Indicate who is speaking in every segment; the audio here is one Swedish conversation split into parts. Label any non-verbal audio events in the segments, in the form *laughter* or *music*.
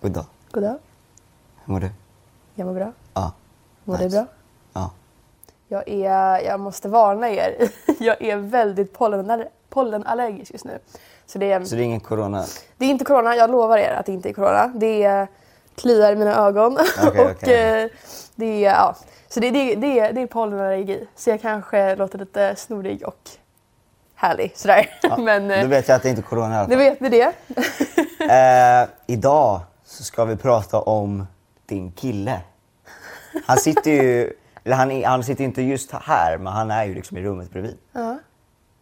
Speaker 1: Udda.
Speaker 2: Goddag.
Speaker 1: Hur mår du?
Speaker 2: Jag mår bra.
Speaker 1: Ja.
Speaker 2: Mår du
Speaker 1: Nice.
Speaker 2: bra?
Speaker 1: Ja.
Speaker 2: Jag, är, jag måste varna er. *laughs* Jag är väldigt pollenaller- pollenallergisk just nu. Så det, är,
Speaker 1: Så det är ingen corona?
Speaker 2: det är inte corona, jag lovar er att det inte är corona. Det är, kliar i mina ögon. *laughs*
Speaker 1: Okej,
Speaker 2: och,
Speaker 1: okej.
Speaker 2: eh, det, är, ja. Så det, det, det, är- det är pollenallergi. Så jag kanske låter lite snorig och härlig sådär.
Speaker 1: Ja.
Speaker 2: *laughs* Men eh,
Speaker 1: Då vet jag att det inte är corona i alla
Speaker 2: nu
Speaker 1: fall.
Speaker 2: vet ni det.
Speaker 1: Eh, idag så ska vi prata om din kille. Han sitter ju, eller han, är- han sitter inte just här men han är ju liksom i rummet bredvid.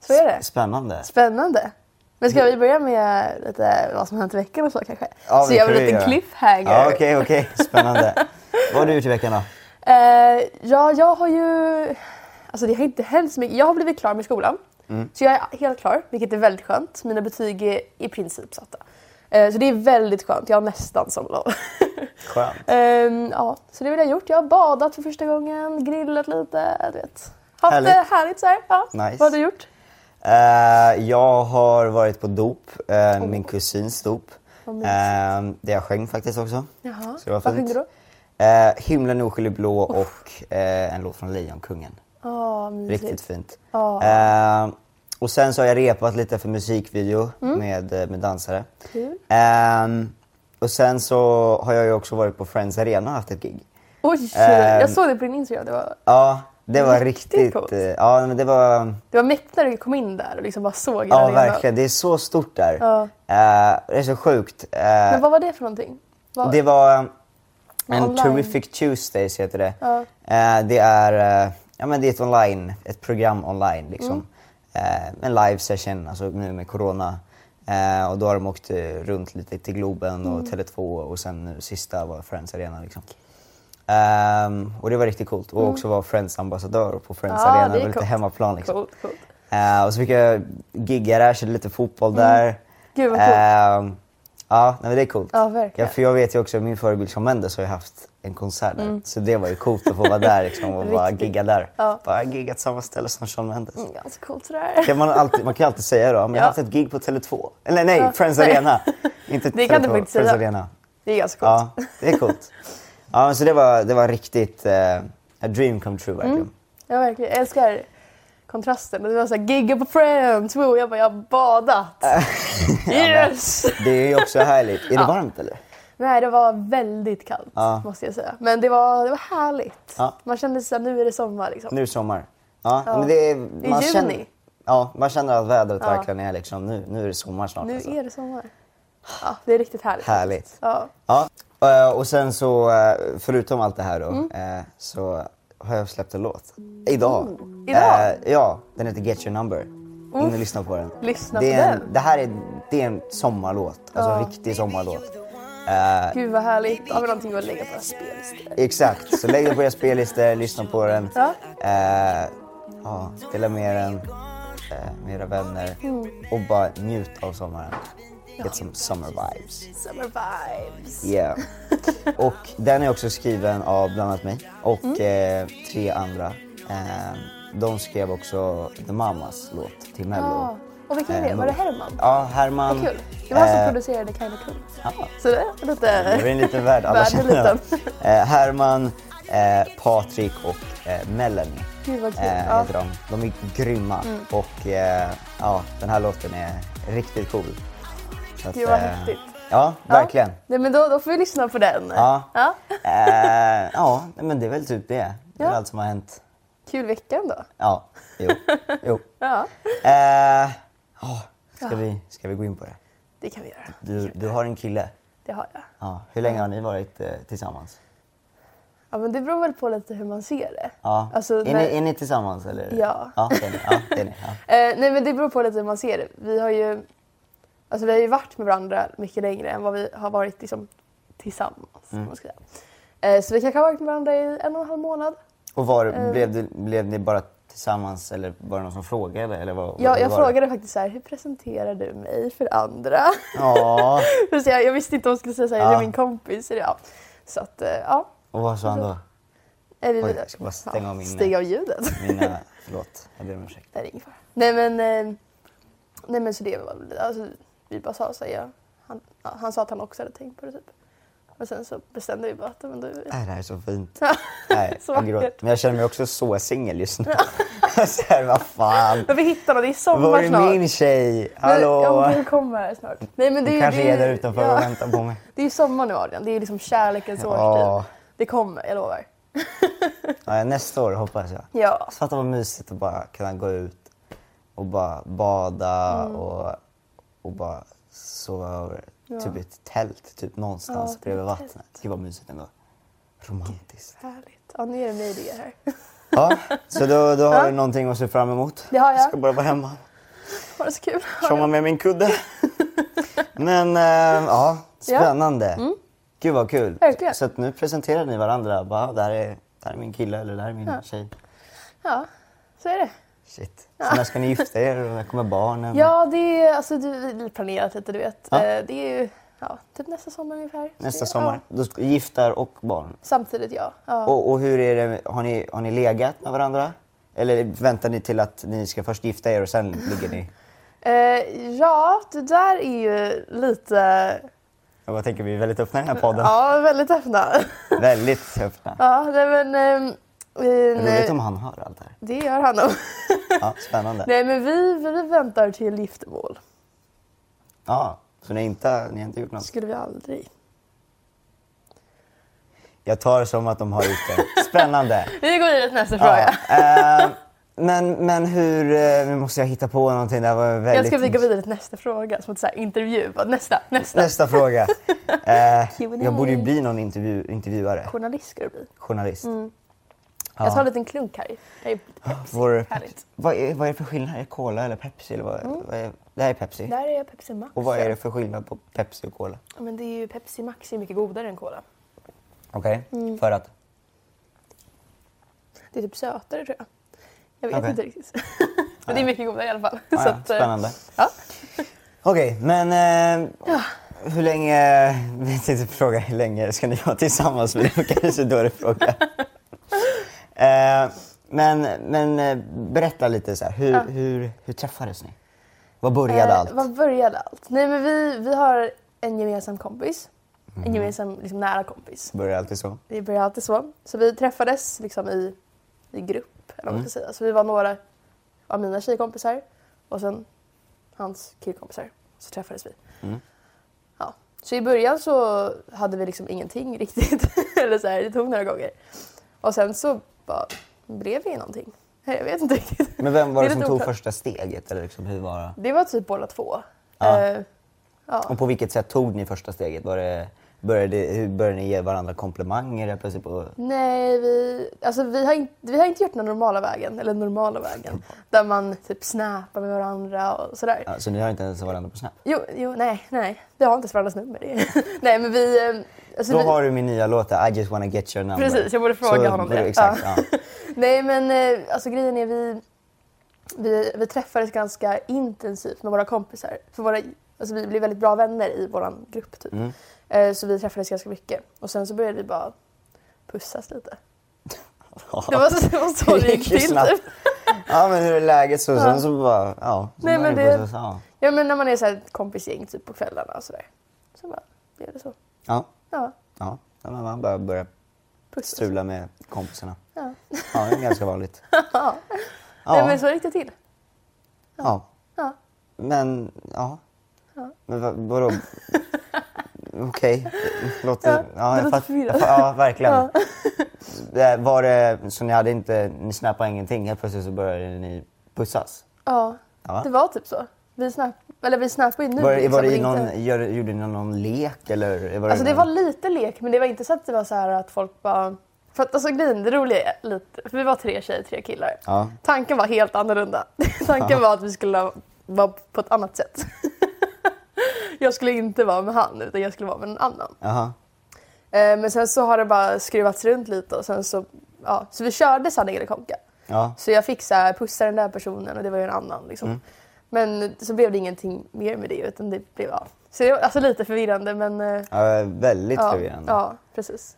Speaker 2: Så är det.
Speaker 1: Spännande.
Speaker 2: Spännande. Men ska vi börja med lite vad som hänt i veckan och så kanske?
Speaker 1: Ja,
Speaker 2: så
Speaker 1: men
Speaker 2: jag har
Speaker 1: kan
Speaker 2: en
Speaker 1: vi
Speaker 2: liten
Speaker 1: göra.
Speaker 2: cliffhanger.
Speaker 1: Ja, Okej, okej. Spännande. Vad har du gjort i veckan då?
Speaker 2: Eh, ja, jag har ju... Alltså det har inte hänt så mycket. Jag har blivit klar med skolan.
Speaker 1: Mm.
Speaker 2: Så jag är helt klar, vilket är väldigt skönt. Mina betyg är i princip satta. Eh, så det är väldigt skönt. Jag har nästan sommarlov.
Speaker 1: Skönt.
Speaker 2: *laughs* Ehm, ja, så det vill jag ha gjort. Jag har badat för första gången, grillat lite, du vet. Haft
Speaker 1: Härligt.
Speaker 2: det härligt så här. Ja.
Speaker 1: Nice.
Speaker 2: Vad har du gjort?
Speaker 1: Eh, jag har varit på dop, eh, min kusins dop.
Speaker 2: Oh. Vad
Speaker 1: Uh,
Speaker 2: mysigt.
Speaker 1: där jag sjöng faktiskt också.
Speaker 2: Jaha.
Speaker 1: Så det var
Speaker 2: Vad
Speaker 1: fint.
Speaker 2: sjöng du då?
Speaker 1: Eh, Himlen är oskyldig blå och eh, en låt från Lejonkungen.
Speaker 2: Ja, mysigt.
Speaker 1: Riktigt fint.
Speaker 2: Ja.
Speaker 1: Eh, och sen så har jag repat lite för musikvideo
Speaker 2: Mm.
Speaker 1: med, eh, med dansare.
Speaker 2: Kul.
Speaker 1: Ehm, och sen så har jag ju också varit på Friends Arena och haft ett gig.
Speaker 2: Oj,
Speaker 1: Ehm.
Speaker 2: jag såg det på din Instagram. Det var,
Speaker 1: Ja, det var
Speaker 2: Riktigt
Speaker 1: riktigt...
Speaker 2: coolt.
Speaker 1: eh, ja, men det var...
Speaker 2: det var mäktigt när du kom in där och liksom bara såg hela
Speaker 1: Ja,
Speaker 2: arenan.
Speaker 1: verkligen. Det är så stort där.
Speaker 2: Ja.
Speaker 1: Eh, det är så sjukt. Eh,
Speaker 2: Men vad var det för någonting? Vad-
Speaker 1: Det var eh, en
Speaker 2: Online.
Speaker 1: Terrific Tuesdays heter det.
Speaker 2: Ja.
Speaker 1: Eh, det är eh, ja, men det är ett online, ett program online liksom.
Speaker 2: Mm.
Speaker 1: Eh, en live session, alltså nu med corona. Eh, och då har de åkt eh, runt lite till Globen
Speaker 2: Mm.
Speaker 1: och Tele2 och sen nu sista var Friends Arena liksom. Ehm, och det var riktigt coolt. Och också vara Friends ambassadör på Friends
Speaker 2: Mm. Ja,
Speaker 1: Arena.
Speaker 2: det
Speaker 1: Det
Speaker 2: är
Speaker 1: var lite
Speaker 2: coolt.
Speaker 1: hemmaplan liksom.
Speaker 2: Coolt, coolt.
Speaker 1: Eh, och så fick jag gigga där, körde lite fotboll
Speaker 2: Mm.
Speaker 1: där.
Speaker 2: Gud, vad
Speaker 1: Ehm, ja, nej, men det är coolt.
Speaker 2: Ja, verkligen.
Speaker 1: för jag vet ju också, min förebild Shawn Mendes har ju haft en konsert där. Så det var ju coolt att få vara där liksom, och bara
Speaker 2: Mm. Riktigt.
Speaker 1: gigga där.
Speaker 2: Ja.
Speaker 1: Bara gigga till samma ställe som Shawn Mendes.
Speaker 2: Mm, Ganska coolt sådär.
Speaker 1: Kan man, alltid, man kan ju alltid säga då, men jag har
Speaker 2: Ja.
Speaker 1: haft ett gig på Tele2. Eller nej,
Speaker 2: Ja,
Speaker 1: Friends
Speaker 2: nej.
Speaker 1: Arena. Inte
Speaker 2: Det kan du
Speaker 1: Tele2,
Speaker 2: faktiskt
Speaker 1: Friends
Speaker 2: säga.
Speaker 1: Arena.
Speaker 2: Det är ganska coolt.
Speaker 1: Ja, det är coolt. ja, men så det var, det var riktigt eh, a dream come
Speaker 2: Mm.
Speaker 1: true verkligen.
Speaker 2: Jag, verkligen, jag älskar kontrasten. Det var såhär gigga på Friends, woo. jag bara jag har badat.
Speaker 1: Eh.
Speaker 2: *laughs* yes!
Speaker 1: Det är ju också härligt. Är det varmt eller?
Speaker 2: Nej det var väldigt kallt
Speaker 1: Ja.
Speaker 2: måste jag säga. Men det var, det var härligt.
Speaker 1: Ja.
Speaker 2: Man kände såhär nu är det sommar liksom.
Speaker 1: Nu är sommar. Ja,
Speaker 2: Ja.
Speaker 1: Men det är,
Speaker 2: I
Speaker 1: man
Speaker 2: juni.
Speaker 1: Känner, ja, man känner att vädret
Speaker 2: Ja.
Speaker 1: verkligen är liksom, nu, nu är det sommar snart.
Speaker 2: Nu
Speaker 1: alltså.
Speaker 2: är det sommar. Ja, det är riktigt härligt.
Speaker 1: Härligt.
Speaker 2: Ja.
Speaker 1: Ja. eh, Och sen så, eh, förutom allt det här då,
Speaker 2: Mm.
Speaker 1: eh, så har jag släppt en låt. Idag.
Speaker 2: Mm. Idag?
Speaker 1: Eh, Ja, den heter Get Your Number. In och lyssna på den.
Speaker 2: Lyssna
Speaker 1: det
Speaker 2: på
Speaker 1: är en,
Speaker 2: den.
Speaker 1: Det här är, det är en sommarlåt. Alltså en riktig sommarlåt. Eh,
Speaker 2: Gud vad härligt. Har vi någonting att lägga på våra spellistor?
Speaker 1: Exakt, så lägg den på era spellistor, lyssna på den.
Speaker 2: Ja.
Speaker 1: Eh, ja, dela med den eh, med era vänner
Speaker 2: Mm.
Speaker 1: och bara njut av sommaren. Get some summer vibes.
Speaker 2: Summer vibes.
Speaker 1: Yeah. och den är också skriven av bland annat mig och
Speaker 2: Mm.
Speaker 1: eh, tre andra. Eh, de skrev också The Mamas låt till Mello.
Speaker 2: Ja. Och vilken är det?
Speaker 1: Eh,
Speaker 2: Var det Herman?
Speaker 1: Ja, Herman.
Speaker 2: Ah. Vad kul. Det var han som
Speaker 1: eh,
Speaker 2: producerade Kinda Cool.
Speaker 1: ja.
Speaker 2: Så det är lite...
Speaker 1: Det är en liten värld. Alla
Speaker 2: Världen är
Speaker 1: känner jag.
Speaker 2: liten.
Speaker 1: Eh, Herman, eh, Patrik och eh, Melanie.
Speaker 2: Gud, vad kul.
Speaker 1: Eh,
Speaker 2: Ja. Mm.
Speaker 1: heter de. de är grymma. Och eh, ja, den här låten är riktigt cool. Så att, eh,
Speaker 2: Gud, vad häftigt.
Speaker 1: Ja, verkligen.
Speaker 2: Ja. Nej, men då, då får vi lyssna på den.
Speaker 1: Ja.
Speaker 2: Ja.
Speaker 1: Eh, ja, men det är väl typ det. Det är
Speaker 2: Ja.
Speaker 1: allt som har hänt.
Speaker 2: Kul vecka ändå.
Speaker 1: Ja, jo.
Speaker 2: *laughs*
Speaker 1: jo.
Speaker 2: Ja,
Speaker 1: Eh, ja, ska, vi, ska vi gå in på det?
Speaker 2: det kan vi göra.
Speaker 1: Du, du har en kille.
Speaker 2: Det har jag.
Speaker 1: Ja, hur länge har ni varit eh, tillsammans?
Speaker 2: Ja, men det beror väl på lite hur man ser det.
Speaker 1: Ja.
Speaker 2: Alltså,
Speaker 1: är,
Speaker 2: när-
Speaker 1: ni, är ni tillsammans eller?
Speaker 2: Ja.
Speaker 1: Ja, det är ni. Ja, det är ni. Ja.
Speaker 2: Eh, nej, men det beror på lite hur man ser det. Vi har ju, alltså, vi har ju varit med varandra mycket längre än vad vi har varit liksom, tillsammans.
Speaker 1: Mm.
Speaker 2: om Man ska säga. Eh, så vi kanske har varit med varandra i en och en halv månad.
Speaker 1: Och
Speaker 2: *laughs*
Speaker 1: var,
Speaker 2: Eh.
Speaker 1: blev, du, blev ni bara tillsammans eller var det någon som frågade? Eller vad,
Speaker 2: Jag,
Speaker 1: hur
Speaker 2: jag
Speaker 1: var det?
Speaker 2: frågade faktiskt så här, hur presenterar du mig för andra? *laughs*
Speaker 1: Ja,
Speaker 2: För så jag, jag visste inte om hon skulle säga så här, är
Speaker 1: Ja.
Speaker 2: det min kompis? Är det, ja. Så att, eh, ja.
Speaker 1: och vad sa han
Speaker 2: *laughs*
Speaker 1: då?
Speaker 2: Är det
Speaker 1: Oj,
Speaker 2: vidare?
Speaker 1: jag ska bara stänga av min-
Speaker 2: Stäng av ljudet. *laughs*
Speaker 1: Mina, förlåt, jag ber om ursäkt.
Speaker 2: Nej, det är ingen fara. Nej men, eh, nej men så det var väl- alltså, vi bara sa så här, ja, han, ja, han sa att han också hade tänkt på det typ. Men sen så bestämde vi bara att men du...
Speaker 1: Äh, det här är så fint.
Speaker 2: Ja,
Speaker 1: Nej,
Speaker 2: Typ. *laughs* så
Speaker 1: jag gråter.
Speaker 2: vackert.
Speaker 1: Men jag känner mig också så singel just *laughs* nu. så här, vad fan.
Speaker 2: Men vi hittar någon, det är
Speaker 1: Var
Speaker 2: sommar
Speaker 1: är
Speaker 2: snart.
Speaker 1: min tjej?
Speaker 2: Men-
Speaker 1: Hallå?
Speaker 2: Ja, hon kommer snart. Nej, men det är,
Speaker 1: Hon
Speaker 2: ju-
Speaker 1: kanske
Speaker 2: det
Speaker 1: är
Speaker 2: ju-
Speaker 1: där utanför
Speaker 2: ja.
Speaker 1: och väntar
Speaker 2: *laughs*
Speaker 1: på mig.
Speaker 2: Det är ju sommar nu Adrian, det är liksom kärlekens
Speaker 1: Ja.
Speaker 2: årstid. Det kommer, jag lovar.
Speaker 1: Ja, nästa år hoppas jag.
Speaker 2: Ja.
Speaker 1: Fatta vad mysigt att bara kunna gå ut och bara bada
Speaker 2: Mm.
Speaker 1: och, och bara sova över typ i ett tält typ någonstans
Speaker 2: Ja,
Speaker 1: bredvid
Speaker 2: ett tält.
Speaker 1: vattnet. Gud vad mysigt ändå.
Speaker 2: *laughs*
Speaker 1: Romantiskt.
Speaker 2: Härligt. Ja, nu är det mig det är här. *laughs*
Speaker 1: Ja, så då, då har
Speaker 2: Ja.
Speaker 1: du någonting att se fram emot.
Speaker 2: Det har jag.
Speaker 1: ska bara vara hemma.
Speaker 2: Var det så kul?
Speaker 1: Tjomma med min
Speaker 2: *laughs*
Speaker 1: kudde. Men eh, ja, spännande. Gud vad kul.
Speaker 2: Mm. Verkligen.
Speaker 1: Så att nu presenterar ni varandra. Bara, det, här är, det här är min kille eller det här är min tjej.
Speaker 2: Ja, så är det.
Speaker 1: Shit. Så när ska ni gifta er och när kommer barnen?
Speaker 2: Ja, det är alltså du, vi har planerat lite du vet.
Speaker 1: Ja.
Speaker 2: Eh, Det är ju ja, typ nästa sommar ungefär. Så
Speaker 1: Nästa
Speaker 2: det-
Speaker 1: sommar?
Speaker 2: Ja,
Speaker 1: Då ska- giftar och barn?
Speaker 2: samtidigt ja. ja.
Speaker 1: Och, och hur är det, har ni, har ni legat med varandra? Eller väntar ni till att ni ska först gifta er och sen ligger ni?
Speaker 2: Eh, ja, det där är ju lite...
Speaker 1: Jag bara tänker, vi är väldigt öppna i den här podden.
Speaker 2: Ja, väldigt öppna. *laughs*
Speaker 1: Väldigt öppna.
Speaker 2: ja, nej, men... ehm, eh,
Speaker 1: Roligt
Speaker 2: nej,
Speaker 1: om han hör allt det här.
Speaker 2: Det gör han nog. *laughs*
Speaker 1: Ja, spännande.
Speaker 2: nej, men vi, vi väntar till giftermål.
Speaker 1: Ja, så ni har, inte, ni har inte gjort något?
Speaker 2: skulle vi aldrig.
Speaker 1: Jag tar det som att de har gjort det.
Speaker 2: *laughs*
Speaker 1: Spännande.
Speaker 2: Vi går vidare till nästa
Speaker 1: Ja,
Speaker 2: fråga.
Speaker 1: eh, men, men hur... eh, Nu måste jag hitta på någonting. Det här var väldigt...
Speaker 2: Jag ska vi gå vidare till nästa fråga, som ett så här intervju. Bara, Nästa, nästa.
Speaker 1: Nästa fråga.
Speaker 2: *laughs*
Speaker 1: Eh,
Speaker 2: Q&A.
Speaker 1: jag borde ju bli någon intervju, intervjuare.
Speaker 2: Journalist ska du bli.
Speaker 1: Journalist.
Speaker 2: Mm. Jag tar en liten klunk här. Det är Pepsi.
Speaker 1: Vår
Speaker 2: Härligt.
Speaker 1: vad, är, vad är det för skillnad? Är det Cola eller Pepsi? Eller vad, vad är, det här är Pepsi.
Speaker 2: Där är Pepsi Mm. Max.
Speaker 1: Och vad är det för skillnad på Pepsi och Cola?
Speaker 2: Ja, Men det är ju Pepsi Max är mycket godare än Cola.
Speaker 1: Okej, för att?
Speaker 2: Det är typ sötare tror jag. Jag vet
Speaker 1: Okej.
Speaker 2: inte riktigt. *laughs* Men det är mycket godare i alla fall.
Speaker 1: Ah,
Speaker 2: Så
Speaker 1: ja,
Speaker 2: att, eh,
Speaker 1: spännande.
Speaker 2: Ja.
Speaker 1: Okej, men eh, hur länge... *laughs* Vi tänkte fråga hur länge ska ni vara tillsammans? Men det var kanske en dålig
Speaker 2: *laughs*
Speaker 1: fråga. eh, men men eh, berätta lite så här. Hur, hur, hur träffades ni? Var började
Speaker 2: Eh,
Speaker 1: allt?
Speaker 2: Var började allt? Nej men vi, vi har en gemensam kompis. En gemensam liksom, nära kompis.
Speaker 1: Mm. Började alltid så?
Speaker 2: Det började alltid så. Så vi träffades liksom i, i grupp, eller vad man ska säga. Så vi var några av mina tjejkompisar och sen hans killkompisar. Så träffades vi. Ja. Så i början så hade vi liksom ingenting *laughs* riktigt. eller så här, det tog några gånger. Och sen så bara blev vi någonting. Jag vet inte riktigt.
Speaker 1: Men vem var
Speaker 2: Det
Speaker 1: det,
Speaker 2: är
Speaker 1: som
Speaker 2: lite
Speaker 1: tog
Speaker 2: oklart.
Speaker 1: första steget? Eller liksom, hur var det?
Speaker 2: Det var typ båda två.
Speaker 1: Ja.
Speaker 2: Eh, ja.
Speaker 1: Och på vilket sätt tog ni första steget? Var det, började, hur började ni ge varandra komplimanger helt plötsligt? På,
Speaker 2: Nej, vi, alltså, vi, har inte, vi har inte gjort den normala vägen, eller normala vägen, där man typ snappar med varandra och sådär.
Speaker 1: ja, så Alltså, ni har inte ens varandra på Snap?
Speaker 2: Jo, jo, nej, nej. Vi har inte ens varandras nummer. Det är- *laughs* nej, men vi... eh, Alltså,
Speaker 1: Då
Speaker 2: vi
Speaker 1: har du min nya låt där, I just wanna get your number.
Speaker 2: Precis, jag borde fråga
Speaker 1: så,
Speaker 2: honom
Speaker 1: borde-
Speaker 2: det.
Speaker 1: Exakt, ja.
Speaker 2: Ja. nej, men eh, alltså, grejen är vi, vi, vi träffades ganska intensivt med våra kompisar. För våra, alltså, vi blev väldigt bra vänner i vår grupp, typ.
Speaker 1: Mm.
Speaker 2: Eh, så vi träffades ganska mycket. Och sen så började vi bara pussas lite. *laughs* Det var så, det var så det gick
Speaker 1: ju
Speaker 2: till.
Speaker 1: snabbt.
Speaker 2: Typ.
Speaker 1: Ja men hur är läget? Så, Sen så bara, ja. Så
Speaker 2: Nej,
Speaker 1: började
Speaker 2: men
Speaker 1: på
Speaker 2: det-
Speaker 1: så- ja.
Speaker 2: Ja men när man är så här ett kompisgäng typ på kvällarna och sådär. Så bara blev det så.
Speaker 1: Ja,
Speaker 2: Ja,
Speaker 1: ja. ja men man bara börjar
Speaker 2: puss.
Speaker 1: strula med kompisarna.
Speaker 2: Ja.
Speaker 1: Ja, det är ganska vanligt.
Speaker 2: *laughs* Ja. *laughs* Nej
Speaker 1: Ja,
Speaker 2: men så gick det till.
Speaker 1: ja.
Speaker 2: Ja.
Speaker 1: Men, ja. Men vad,
Speaker 2: *laughs*
Speaker 1: vadå? Okej, det låter...
Speaker 2: Ja,
Speaker 1: Ja,
Speaker 2: det
Speaker 1: jag
Speaker 2: låter
Speaker 1: fatt,
Speaker 2: förvirrat.
Speaker 1: jag fatt, ja verkligen.
Speaker 2: Ja.
Speaker 1: Det Var det, så ni hade inte, ni snappade ingenting, helt plötsligt så började ni pussas?
Speaker 2: Ja,
Speaker 1: Ja.
Speaker 2: det var typ så. Vi snapp, eller vi snappade ju nu.
Speaker 1: Var, det-
Speaker 2: liksom,
Speaker 1: var det i
Speaker 2: men
Speaker 1: någon,
Speaker 2: inte-
Speaker 1: gör, gjorde ni någon lek eller? Var
Speaker 2: Alltså det
Speaker 1: någon-
Speaker 2: var lite lek men det var inte så att det var så här att folk bara... För att alltså grejen, det roliga är lite, för vi var tre tjejer, tre killar.
Speaker 1: Ja.
Speaker 2: Tanken var helt annorlunda. *laughs* Tanken var att vi skulle vara på ett annat sätt. *laughs* jag skulle inte vara med han utan jag skulle vara med en annan.
Speaker 1: Jaha.
Speaker 2: Eh, Men sen så har det bara skruvats runt lite och sen så, ja, så vi körde sanning eller konka.
Speaker 1: Ja.
Speaker 2: Så jag fick så här, pussa den där personen och det var ju en annan liksom.
Speaker 1: Mm.
Speaker 2: Men så blev det ingenting mer med det utan det blev, ja. Så det var alltså lite förvirrande men... eh,
Speaker 1: ja väldigt
Speaker 2: ja,
Speaker 1: förvirrande.
Speaker 2: Ja, precis.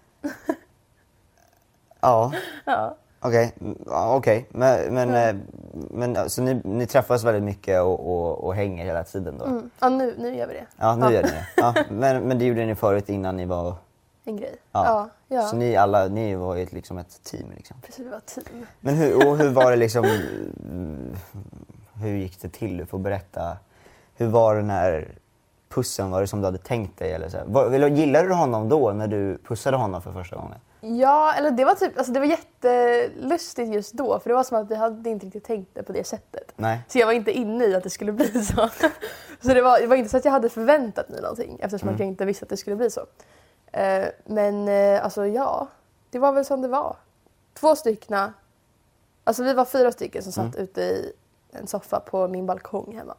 Speaker 1: Ja,
Speaker 2: Ja.
Speaker 1: okej. Ja, okej. Men, men,
Speaker 2: Mm.
Speaker 1: eh, men så ni, ni träffas väldigt mycket och, och, och hänger hela tiden då?
Speaker 2: Mm. ja nu, nu gör vi det.
Speaker 1: Ja, nu gör ni det. Ja, men, men det gjorde ni förut innan ni var
Speaker 2: en grej.
Speaker 1: Ja.
Speaker 2: Ja, ja.
Speaker 1: Så ni alla, ni var ju ett- liksom ett team liksom.
Speaker 2: Precis, vi var ett team.
Speaker 1: Men hur, och hur var det liksom, mm, hur gick det till? Du får berätta. Hur var den här pussen? Var det som du hade tänkt dig? Eller så här? Var, eller gillade du honom då när du pussade honom för första gången?
Speaker 2: Ja, eller det var typ, alltså det var jättelustigt just då för det var som att vi hade inte riktigt tänkt det på det sättet.
Speaker 1: Nej.
Speaker 2: Så jag var inte inne i att det skulle bli så. *laughs* Så det var, det var inte så att jag hade förväntat mig någonting eftersom att jag inte visste att det skulle bli så. Eh, men eh, alltså ja, det var väl som det var. Två styckna, alltså vi var fyra stycken som satt ute i en soffa på min balkong hemma.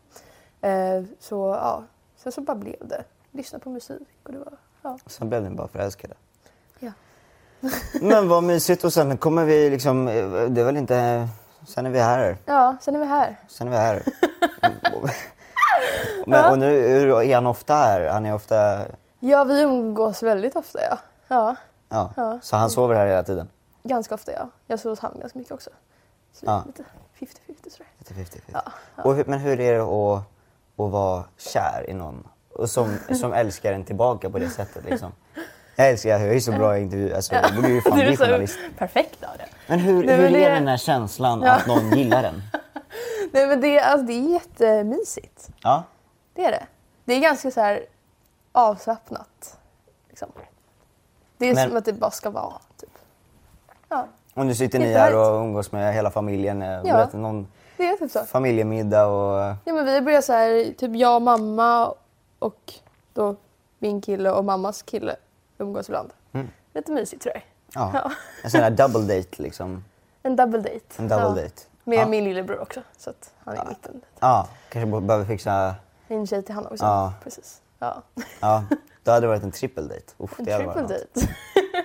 Speaker 2: Eh, så ja, sen så bara blev det. Lyssna på musik och det var, ja.
Speaker 1: Sen blev ni bara förälskade.
Speaker 2: ja.
Speaker 1: *laughs* Men vad mysigt och sen kommer vi liksom, det är väl inte, sen är vi här.
Speaker 2: Ja, sen är vi här.
Speaker 1: Sen är vi
Speaker 2: *laughs*
Speaker 1: här. Men, och nu hur är han ofta här. Han är ofta,
Speaker 2: Ja, vi umgås väldigt ofta ja. ja
Speaker 1: ja.
Speaker 2: Ja.
Speaker 1: Så han sover här hela tiden?
Speaker 2: ganska ofta ja. Jag sover hos honom ganska mycket också. Så det är
Speaker 1: Ja.
Speaker 2: lite 50-50 tror jag.
Speaker 1: 50-50. Och hur, men hur är det att, att vara kär i någon och som, som älskar en tillbaka på det sättet? Liksom? Jag älskar, jag är ju så bra i intervju. Alltså, jag borde ju fan
Speaker 2: Du är
Speaker 1: bli
Speaker 2: så
Speaker 1: journalist.
Speaker 2: perfekt av det.
Speaker 1: Men hur,
Speaker 2: Nej,
Speaker 1: hur
Speaker 2: men det-
Speaker 1: är den här känslan att någon gillar en?
Speaker 2: Nej men det, alltså, det är jättemysigt.
Speaker 1: Ja.
Speaker 2: Det är det. Det är ganska så här avslappnat. Liksom. Det är
Speaker 1: Men-
Speaker 2: som att det bara ska vara. Typ. Ja,
Speaker 1: Och nu sitter ni
Speaker 2: Helt
Speaker 1: här
Speaker 2: rätt.
Speaker 1: och umgås med hela familjen. eh, och
Speaker 2: Ja.
Speaker 1: berättar någon
Speaker 2: det är typ så.
Speaker 1: familjemiddag och... eh,
Speaker 2: Ja, men vi började så här, typ jag och mamma och då min kille och mammas kille umgås ibland.
Speaker 1: Mm.
Speaker 2: Lite mysigt tror jag.
Speaker 1: Ja.
Speaker 2: Ja.
Speaker 1: En sån här double date liksom.
Speaker 2: En double date.
Speaker 1: En double
Speaker 2: Ja.
Speaker 1: date.
Speaker 2: Med
Speaker 1: Ja.
Speaker 2: min lillebror också. Så att han är i mitten.
Speaker 1: Ja, kanske b- behöver fixa...
Speaker 2: En tjej till han också.
Speaker 1: Ja.
Speaker 2: Precis. Ja.
Speaker 1: Ja, då hade det varit en triple date. Uff,
Speaker 2: En
Speaker 1: det hade varit
Speaker 2: triple
Speaker 1: något.
Speaker 2: date.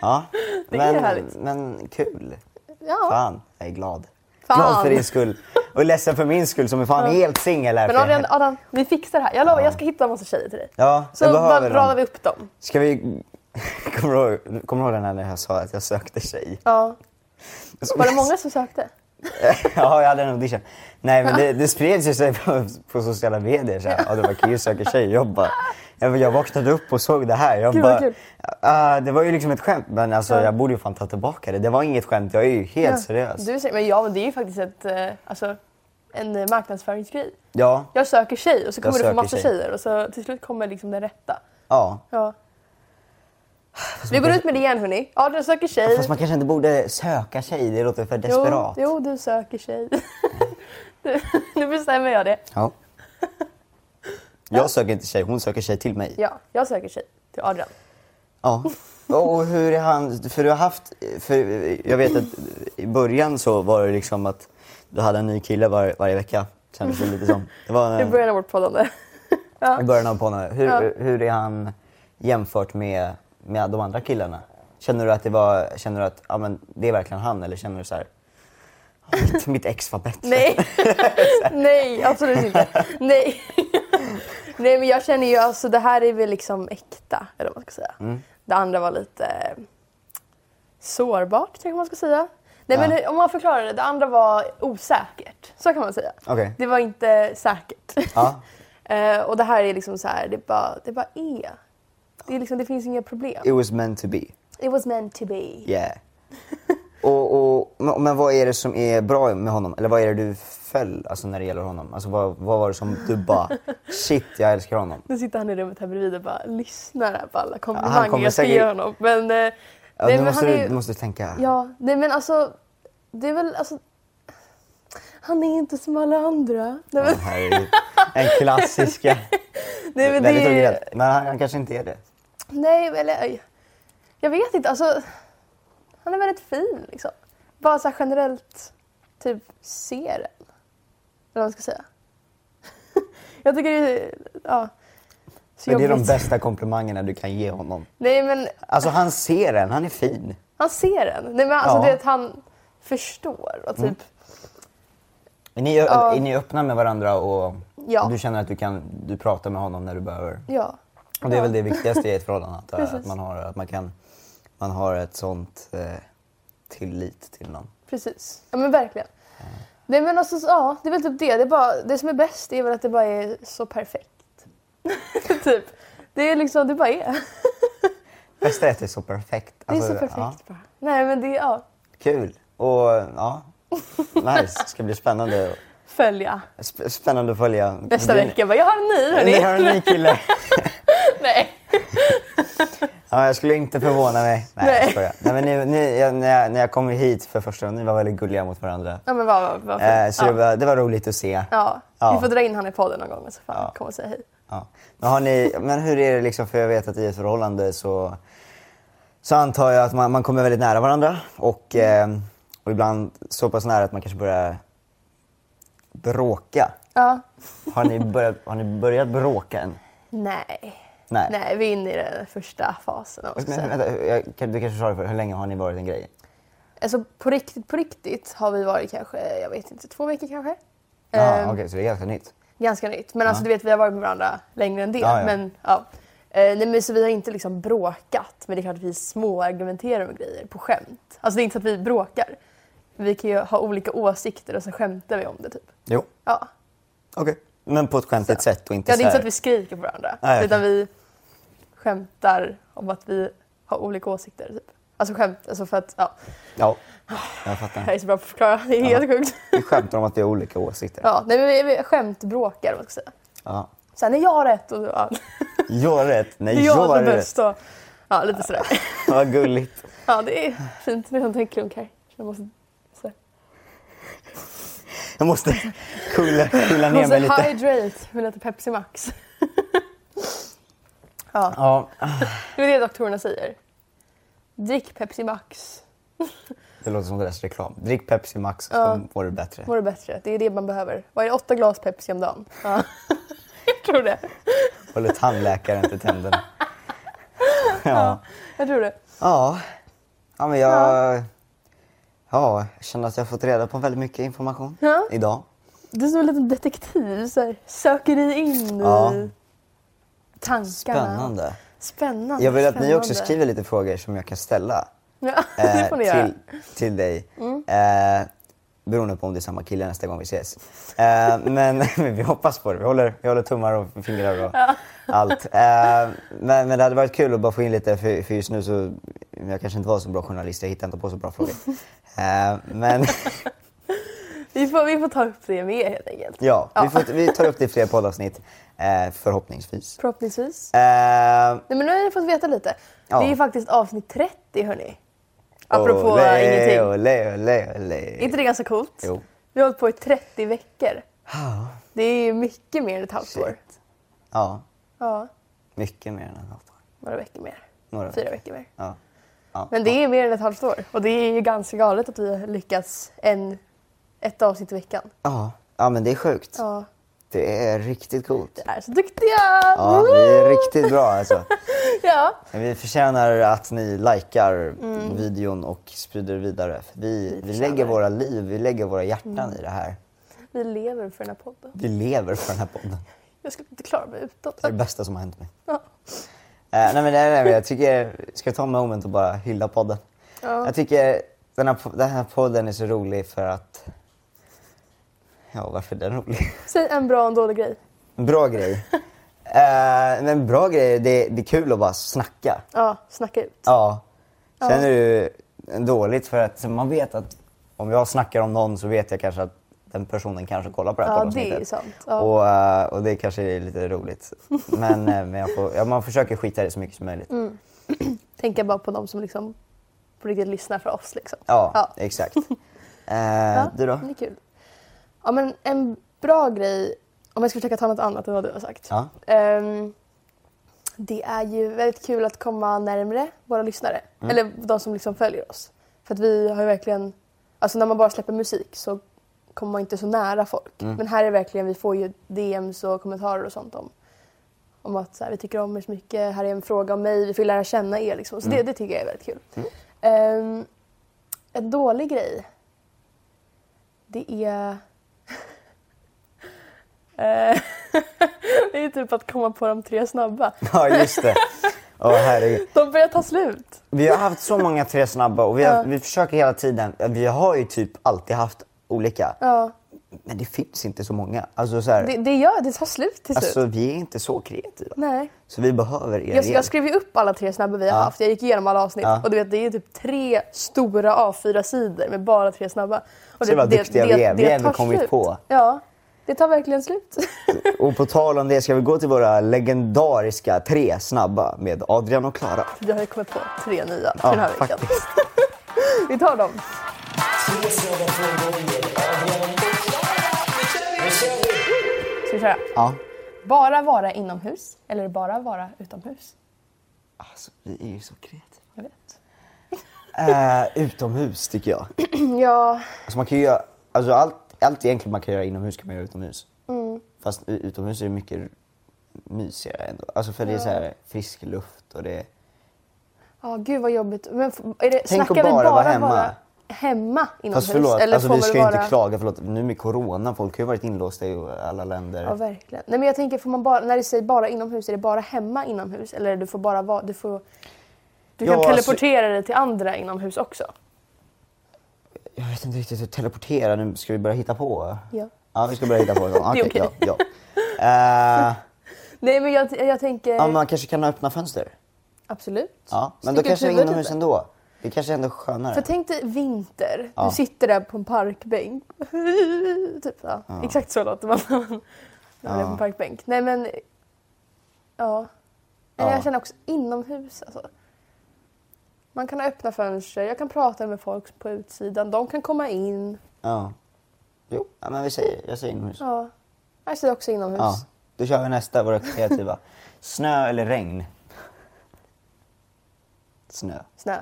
Speaker 1: Ja,
Speaker 2: Det är
Speaker 1: men,
Speaker 2: härligt.
Speaker 1: men kul.
Speaker 2: Ja.
Speaker 1: Fan, jag är glad.
Speaker 2: Fan.
Speaker 1: Glad för din skull. Och ledsen för min skull som är fan helt singel här.
Speaker 2: Men
Speaker 1: för
Speaker 2: Adrian,
Speaker 1: helvete.
Speaker 2: Adrian, vi fixar det här. Jag lovar, jag ska hitta en massa tjejer till dig.
Speaker 1: Ja, jag
Speaker 2: så bara
Speaker 1: behöver
Speaker 2: radar
Speaker 1: dem.
Speaker 2: vi upp dem.
Speaker 1: Ska vi... *laughs* Kommer du ihåg, kommer du ihåg den här när jag sa att jag sökte tjej?
Speaker 2: Ja. Var det många som sökte?
Speaker 1: *laughs* ja, jag hade en audition. Nej, men det, det spreds ju sig på, på sociala medier. Så här. Ja, det var kul söker tjejjobb. bara. Jag, jag vaknade upp och såg det här. Jag
Speaker 2: Gud, vad
Speaker 1: bara,
Speaker 2: kul.
Speaker 1: "Ah, det var ju liksom ett skämt, men alltså,
Speaker 2: Ja.
Speaker 1: jag borde ju fan ta tillbaka det. Det var inget skämt, jag är ju helt seriös.
Speaker 2: Du säger, men ja, men det är ju faktiskt ett, eh, alltså, en eh, marknadsföringsgrej.
Speaker 1: Ja,
Speaker 2: Jag söker tjej och så kommer du få
Speaker 1: söker
Speaker 2: massa
Speaker 1: tjej.
Speaker 2: tjejer och så till slut kommer liksom den rätta.
Speaker 1: ja.
Speaker 2: Ja. Vi går ut med det igen hörni. Adrian söker tjej.
Speaker 1: Fast man kanske inte borde söka tjej, det låter för
Speaker 2: Jo,
Speaker 1: desperat.
Speaker 2: jo, du söker tjej. *laughs* Du- nu bestämmer jag det. *laughs*
Speaker 1: Ja. Jag söker inte tjej, hon söker tjej till mig.
Speaker 2: Ja, jag söker tjej till Adrian.
Speaker 1: Ja.
Speaker 2: *laughs*
Speaker 1: Och hur är han, för du har haft, för jag vet att i början så var det liksom att du hade en ny kille var, varje vecka. Kändes det lite som. Det var
Speaker 2: *laughs* I
Speaker 1: en,
Speaker 2: början av vårt poddande.
Speaker 1: i början av podden. Hur,
Speaker 2: Ja.
Speaker 1: hur är han jämfört med, med de andra killarna? Känner du att det var, känner du att ja, men det är verkligen han eller känner du så här, "Ja, mitt, mitt ex var bättre?
Speaker 2: Nej.
Speaker 1: *laughs*
Speaker 2: Nej, absolut inte. Nej. *laughs* Nej, men jag känner ju alltså det här är väl liksom äkta, eller vad man ska säga.
Speaker 1: Mm.
Speaker 2: Det andra var lite eh, sårbart, kanske man ska säga. Nej,
Speaker 1: Ja.
Speaker 2: men hur- om man förklarar det. Det andra var osäkert. Så kan man säga.
Speaker 1: Okej.
Speaker 2: Det var inte
Speaker 1: *laughs*
Speaker 2: säkert.
Speaker 1: Ja.
Speaker 2: Eh, och det här är liksom så här, det bara, det bara är. Det, är liksom, det finns inga problem.
Speaker 1: It was meant to be.
Speaker 2: It was meant to be.
Speaker 1: Yeah. och, och, men men vad är det som är bra med honom? Eller vad är det du föll alltså, när det gäller honom? Alltså, vad, vad var det som du bara, shit jag älskar honom?
Speaker 2: Nu sitter han i rummet här bredvid och bara lyssnar här på alla
Speaker 1: Ja,
Speaker 2: komplimanger
Speaker 1: han kommer
Speaker 2: jag ska
Speaker 1: säkert-
Speaker 2: ge honom. Men, eh,
Speaker 1: Ja,
Speaker 2: nej,
Speaker 1: nu
Speaker 2: men
Speaker 1: måste
Speaker 2: han
Speaker 1: du,
Speaker 2: är
Speaker 1: du
Speaker 2: ju...
Speaker 1: måste tänka.
Speaker 2: Ja, nej men alltså. Det är väl alltså. Han är inte som alla andra. Nej
Speaker 1: Det
Speaker 2: men,
Speaker 1: här är ju en klassiska.
Speaker 2: *laughs* nej, men
Speaker 1: Väldigt
Speaker 2: det är...
Speaker 1: originellt. Men han, han kanske inte är det.
Speaker 2: Nej, men- eller oj. Jag vet inte, alltså. Han är väldigt fin liksom. Bara så här generellt, typ ser en. Eller vad man ska säga. *laughs* jag tycker det är, ja. Så
Speaker 1: Men det är de
Speaker 2: jobbigt.
Speaker 1: bästa komplimangerna du kan ge honom.
Speaker 2: Nej men
Speaker 1: Alltså han ser en, han är fin.
Speaker 2: Han ser den. Nej, men alltså
Speaker 1: Ja. Mm.
Speaker 2: det är att han förstår och typ...
Speaker 1: Är ni, ö-
Speaker 2: Ja.
Speaker 1: är ni öppna med varandra och
Speaker 2: Ja.
Speaker 1: du känner att du kan du pratar med honom när du behöver?
Speaker 2: Ja.
Speaker 1: Och det är väl det viktigaste i ett förhållande, antar jag,
Speaker 2: Precis.
Speaker 1: att man har, att man kan, man har ett sånt eh, tillit till någon.
Speaker 2: Precis. Ja men verkligen. Nej men alltså så- ja, det är väl typ det. Det, är bara, det som är bäst är väl att det bara *laughs* är så perfekt. typ. Det är liksom, det bara är.
Speaker 1: bästa är att det är så perfekt.
Speaker 2: Det är
Speaker 1: Alltså,
Speaker 2: så perfekt
Speaker 1: Ja,
Speaker 2: bara. Nej men det är, ja,
Speaker 1: kul. Och ja, nice. Det ska bli spännande.
Speaker 2: följa.
Speaker 1: Sp- Spännande att följa.
Speaker 2: Nästa
Speaker 1: Din-
Speaker 2: vecka bara, jag har en ny
Speaker 1: Ni har
Speaker 2: hörni.
Speaker 1: en ny kille.
Speaker 2: *laughs* Nej.
Speaker 1: Ja, jag skulle inte förvåna mig. Nej,
Speaker 2: Nej.
Speaker 1: jag skojar. Nej, men ni, ni, jag, när, jag, när jag kom hit för första gången, ni var väldigt gulliga mot varandra.
Speaker 2: Ja men vad, vad, vad
Speaker 1: Eh, så det,
Speaker 2: ja.
Speaker 1: var, det var roligt att se.
Speaker 2: Ja.
Speaker 1: Ja.
Speaker 2: vi får dra in han i podden någon gång så får han
Speaker 1: Ja.
Speaker 2: komma och säga hej.
Speaker 1: Ja. Men, har ni, men hur är det liksom, för jag vet att i ett förhållande så, så antar jag att man, man kommer väldigt nära varandra och, eh, och ibland så pass nära att man kanske börjar bråka.
Speaker 2: Ja.
Speaker 1: Har ni börjat, *laughs* har ni börjat bråka än?
Speaker 2: Nej.
Speaker 1: Nej.
Speaker 2: Nej, vi är inne i den första fasen. Också.
Speaker 1: Men, vänta, jag, kan- du kanske sa det för hur länge har ni varit en grej?
Speaker 2: Alltså på riktigt, på riktigt har vi varit kanske, jag vet inte, två veckor kanske.
Speaker 1: Jaha,
Speaker 2: Ehm,
Speaker 1: Okej, så det är ganska nytt.
Speaker 2: Ganska nytt. Men alltså du vet, vi har varit med varandra längre än det.
Speaker 1: Ja, ja.
Speaker 2: Men, ja. Eh, nej, men så vi har inte liksom bråkat. Men det är klart att vi småargumenterar om grejer på skämt. Alltså det är inte så att vi bråkar. Vi kan ju ha olika åsikter och så skämtar vi om det typ.
Speaker 1: Jo.
Speaker 2: Ja.
Speaker 1: Okej. Men på ett skämtigt sätt och inte
Speaker 2: Ja, det är
Speaker 1: så
Speaker 2: inte så
Speaker 1: här-
Speaker 2: att vi skriker på varandra.
Speaker 1: Nej, okej.
Speaker 2: Utan vi skämtar om att vi har olika åsikter. Typ. Alltså skämt, alltså för att, ja,
Speaker 1: Ja, jag
Speaker 2: jag
Speaker 1: fattar.
Speaker 2: är så bra på att förklara. Det är helt sjukt. *laughs*
Speaker 1: Vi skämtar om att vi har olika åsikter.
Speaker 2: Ja, nej, men vi, vi skämtbråkar, om man ska säga.
Speaker 1: Ja.
Speaker 2: Sen är jag rätt och ja,
Speaker 1: Jag har rätt. Nej,
Speaker 2: det är
Speaker 1: jag,
Speaker 2: *laughs* jag som
Speaker 1: har
Speaker 2: är
Speaker 1: rätt.
Speaker 2: bäst. Och, ja, lite sådär.
Speaker 1: Vad gulligt.
Speaker 2: Ja, det är fint. Det är sånt här klunk här. Så Jag måste, så.
Speaker 1: Jag måste coola, coola
Speaker 2: Jag
Speaker 1: ner
Speaker 2: måste
Speaker 1: mig lite.
Speaker 2: hydrate med lite Pepsi Max. *laughs* ja,
Speaker 1: Ja,
Speaker 2: det är det doktorerna säger. Drick Pepsi Max,
Speaker 1: det låter som deras reklam. Drick Pepsi Max så
Speaker 2: Ja.
Speaker 1: mår du bättre.
Speaker 2: mår du bättre. Det är det man behöver. Vad är det? åtta glas Pepsi om dagen? Ja. *laughs* jag tror det.
Speaker 1: Håller tandläkaren till tänderna. Ja.
Speaker 2: Jag tror det.
Speaker 1: Ja. ja, men jag... Ja, jag känner att jag har fått reda på väldigt mycket information
Speaker 2: Ja.
Speaker 1: idag.
Speaker 2: Du är som en liten detektiv. Så här, söker dig in
Speaker 1: Ja.
Speaker 2: i tankarna.
Speaker 1: Spännande.
Speaker 2: Spännande.
Speaker 1: Jag vill att ni
Speaker 2: spännande.
Speaker 1: också skriver lite frågor som jag kan ställa.
Speaker 2: Ja, *laughs* det
Speaker 1: eh,
Speaker 2: får ni göra. Mm.
Speaker 1: till, till dig. Eh, beroende på om det är samma kille nästa gång vi ses. Eh, men, *laughs* men vi hoppas på det. Vi håller, vi håller tummar och fingrar och allt. Eh, men, men det hade varit kul att bara få in lite, för, för just nu så... Jag kanske inte var så bra journalist, jag hittade inte på så bra
Speaker 2: *laughs*
Speaker 1: frågor. Eh, men *laughs*
Speaker 2: Vi, får, vi får ta upp det med helt enkelt.
Speaker 1: ja,
Speaker 2: Ja.
Speaker 1: Vi, får, vi tar upp det i fler poddavsnitt. Eh, förhoppningsvis.
Speaker 2: Förhoppningsvis.
Speaker 1: Eh,
Speaker 2: Nej, men nu har ni fått veta lite.
Speaker 1: Ja.
Speaker 2: Det är ju faktiskt avsnitt 30 hörni. Apropå ingenting.
Speaker 1: Olé, olé, olé.
Speaker 2: Är inte det ganska coolt?
Speaker 1: Jo.
Speaker 2: Vi har hållit på i 30 veckor.
Speaker 1: Ja,
Speaker 2: Det är ju mycket mer än ett halvt år.
Speaker 1: Shit. ja,
Speaker 2: Ja,
Speaker 1: mycket mer än en halvt år.
Speaker 2: några veckor mer.
Speaker 1: Några
Speaker 2: Fyra veckor mer.
Speaker 1: Ja. Ja.
Speaker 2: Men det är mer än ett halvt år. Och det är ju ganska galet att vi har lyckats en, ett avsnitt i veckan.
Speaker 1: Ja. ja, men det är sjukt.
Speaker 2: Ja,
Speaker 1: Det är riktigt coolt.
Speaker 2: är så duktiga!
Speaker 1: Ja, vi är riktigt bra alltså.
Speaker 2: *laughs* Ja.
Speaker 1: Vi förtjänar att ni likar videon och sprider vidare. För Vi, vi
Speaker 2: Mm. förtjänar
Speaker 1: lägger
Speaker 2: det. Mm.
Speaker 1: våra liv, vi lägger våra hjärtan i det här.
Speaker 2: Vi lever för den här podden.
Speaker 1: Vi lever för den här podden.
Speaker 2: Jag skulle inte klara mig utan.
Speaker 1: Det är det bästa som har hänt mig.
Speaker 2: Ja.
Speaker 1: Eh, nej men det är det, jag tycker, ska jag ta en moment och bara hylla podden?
Speaker 2: Ja.
Speaker 1: Jag tycker den här, po- den här podden är så rolig för att... Ja, varför är den rolig?
Speaker 2: Säg en bra och en dålig grej.
Speaker 1: En bra
Speaker 2: *laughs*
Speaker 1: grej. Eh, men bra grej, det, det är kul att bara snacka.
Speaker 2: Ja, snacka ut.
Speaker 1: Ja. Sen är det ju dåligt för att man vet att om jag snackar om någon så vet jag kanske att den personen kanske kollar på det här
Speaker 2: Ja,
Speaker 1: poddavsnittet.
Speaker 2: det är sant. Ja.
Speaker 1: Och, eh, och det kanske är lite
Speaker 2: *laughs*
Speaker 1: roligt. Men, eh, men jag får, ja, man försöker skita i det så mycket som möjligt.
Speaker 2: Mm. tänka bara på de som liksom på riktigt lyssnar för oss. Liksom.
Speaker 1: Ja,
Speaker 2: Ja. *laughs*
Speaker 1: exakt. Eh,
Speaker 2: Ja,
Speaker 1: Du då?
Speaker 2: Det är kul. Ja, men en bra grej, om jag ska försöka ta något annat än vad du har sagt.
Speaker 1: Ja. *laughs*
Speaker 2: Ehm, det är ju väldigt kul att komma närmre våra lyssnare. Eller de som liksom följer oss. För att vi har ju verkligen, alltså när man bara släpper musik så kommer man inte så nära folk. Men här är verkligen, vi får ju DMs och kommentarer och sånt om, om att så här, vi tycker om er så mycket, här är en fråga om mig, vi får ju lära känna er liksom. Så det, det tycker jag är väldigt kul. Ehm, en dålig grej, det är... *laughs* Eh, det är typ att komma på de tre snabba.
Speaker 1: ja, just det. Åh herregud.
Speaker 2: De börjar ta slut.
Speaker 1: Vi har haft så många tre snabba och vi, har,
Speaker 2: Ja.
Speaker 1: vi försöker hela tiden. Vi har ju typ alltid haft olika.
Speaker 2: Ja,
Speaker 1: Men det finns inte så många. Alltså, så här,
Speaker 2: Det, det gör det tar slut till slut.
Speaker 1: alltså vi är inte så kreativa.
Speaker 2: Nej.
Speaker 1: Så vi behöver er
Speaker 2: Jag,
Speaker 1: hjälp.
Speaker 2: jag skrev ju upp alla tre snabba vi har
Speaker 1: Ja.
Speaker 2: haft. Jag gick igenom alla avsnitt
Speaker 1: Ja.
Speaker 2: och du vet det är typ tre stora A4-sidor med bara tre snabba. Och
Speaker 1: Så vad duktiga vi är. Vi har ändå
Speaker 2: tar
Speaker 1: kommit
Speaker 2: slut.
Speaker 1: på.
Speaker 2: Ja, det tar verkligen slut.
Speaker 1: *laughs* Och på tal om det ska vi gå till våra legendariska tre snabba med Adrian och Klara.
Speaker 2: Vi har ju kommit på tre nya för
Speaker 1: Ja,
Speaker 2: den här veckan. *laughs* Vi tar dem. Ska vi köra?
Speaker 1: Ja.
Speaker 2: Bara vara inomhus eller bara vara utomhus?
Speaker 1: Alltså vi är ju så kreativa.
Speaker 2: Jag
Speaker 1: *clears throat*
Speaker 2: vet.
Speaker 1: Eh, utomhus tycker jag.
Speaker 2: Ja,
Speaker 1: Alltså man kan ju göra, alltså allt, allt egentligen man kan göra inomhus kan man göra utomhus.
Speaker 2: Mm.
Speaker 1: Fast u- utomhus är det mycket mysigare ändå. Alltså för det är så här frisk luft och det...
Speaker 2: ja gud vad jobbigt. Men f- är det,
Speaker 1: Tänk att
Speaker 2: snackar vi
Speaker 1: bara
Speaker 2: bara
Speaker 1: vara hemma.
Speaker 2: hemma inomhus?
Speaker 1: Fast förlåt, alltså, vi
Speaker 2: får man
Speaker 1: ska ju
Speaker 2: vara-
Speaker 1: inte klaga. Förlåt, nu med corona, folk har ju varit inlåsta i alla länder.
Speaker 2: Ja, verkligen. Nej, men jag tänker, får man bara, när du säger bara inomhus, är det bara hemma inomhus? Eller du får bara vara... Du, får, du
Speaker 1: Ja,
Speaker 2: kan
Speaker 1: alltså-
Speaker 2: teleportera dig till andra inomhus också?
Speaker 1: Jag vet inte riktigt hur teleportera nu. Ska vi börja hitta på?
Speaker 2: Ja.
Speaker 1: Ja, vi ska börja hitta på. Okej,
Speaker 2: *laughs* Det är okej.
Speaker 1: ja. ja. Eh,
Speaker 2: Nej, men jag, jag tänker...
Speaker 1: ja, man kanske kan öppna fönster.
Speaker 2: Absolut.
Speaker 1: Ja, men
Speaker 2: Sticka
Speaker 1: då
Speaker 2: ut
Speaker 1: kanske det är
Speaker 2: huvudet
Speaker 1: inomhus
Speaker 2: lite.
Speaker 1: ändå. Det kanske är ändå skönare.
Speaker 2: För tänk dig vinter.
Speaker 1: Ja.
Speaker 2: Du sitter där på en parkbänk. *laughs* typ, ja. Exakt så låter man när man när man är på en parkbänk. Nej, men... Ja. Eller
Speaker 1: Ja.
Speaker 2: Jag känner också inomhus. Alltså. Man kan öppna fönster, jag kan prata med folk på utsidan, de kan komma in.
Speaker 1: Ja. Jo, ja, men vi säger, jag säger inomhus.
Speaker 2: Ja. Jag säger också inomhus.
Speaker 1: Ja. Då kör vi nästa, våra kreativa. Snö eller regn? Snö.
Speaker 2: Snö.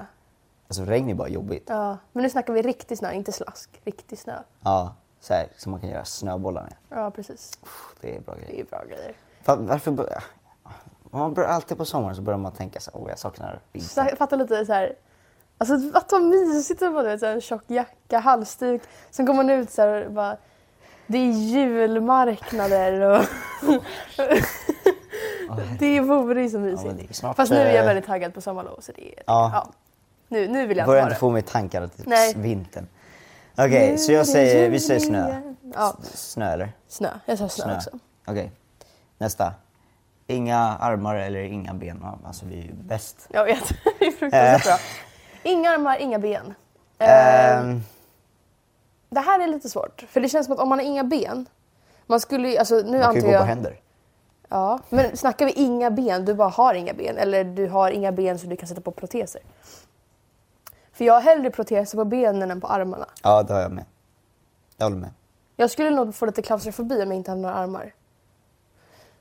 Speaker 1: Alltså regn är bara jobbigt.
Speaker 2: Ja. Men nu snackar vi riktig snö, inte slask. Riktig snö.
Speaker 1: Ja, så här som man kan göra snöbollar med.
Speaker 2: Ja, precis.
Speaker 1: Pff, Det är bra
Speaker 2: Det är
Speaker 1: grejer.
Speaker 2: ju bra grejer.
Speaker 1: Fa- Varför bör... Om man börjar alltid på sommaren så börjar man tänka så här, åh jag saknar vintern.
Speaker 2: Så- Fatta lite så här. Alltså att vad mysigt det var du vet, så här, en tjock jacka, halsduk. Sen går man ut så här och bara. Det är julmarknader
Speaker 1: *laughs*
Speaker 2: och *laughs* det vore ju så
Speaker 1: Ja, men det är
Speaker 2: mysigt.
Speaker 1: snart,
Speaker 2: Fast nu är jag
Speaker 1: eh,
Speaker 2: väldigt taggad på sommarlov så det är...
Speaker 1: Ja.
Speaker 2: Nu, nu vill jag
Speaker 1: Börja
Speaker 2: ha
Speaker 1: inte
Speaker 2: det.
Speaker 1: få mig i tankar till
Speaker 2: Nej.
Speaker 1: vintern. Okej,
Speaker 2: Nu
Speaker 1: så
Speaker 2: är det
Speaker 1: jag säger, vi
Speaker 2: jul
Speaker 1: säger snö.
Speaker 2: igen. Ja.
Speaker 1: S- Snö eller?
Speaker 2: Snö. Jag sa snö, också.
Speaker 1: Okej. Nästa. Inga armar eller inga ben. Ja, Alltså vi är ju bäst.
Speaker 2: Jag vet, *laughs* det är fruktansvärt
Speaker 1: Eh.
Speaker 2: bra. Inga armar, inga ben. Eh,
Speaker 1: Ehm,
Speaker 2: Det här är lite svårt, för det känns som att om man har inga ben, man skulle ju, alltså nu
Speaker 1: man kan ju
Speaker 2: antar
Speaker 1: gå på
Speaker 2: jag...
Speaker 1: händer.
Speaker 2: Ja, men snackar vi inga ben, du bara har inga ben, eller du har inga ben så du kan sätta på proteser. För jag har hellre proteser på benen än på armarna.
Speaker 1: Ja, det har jag med. Jag håller med.
Speaker 2: Jag skulle nog få lite klaustrofobi om jag inte hade några armar.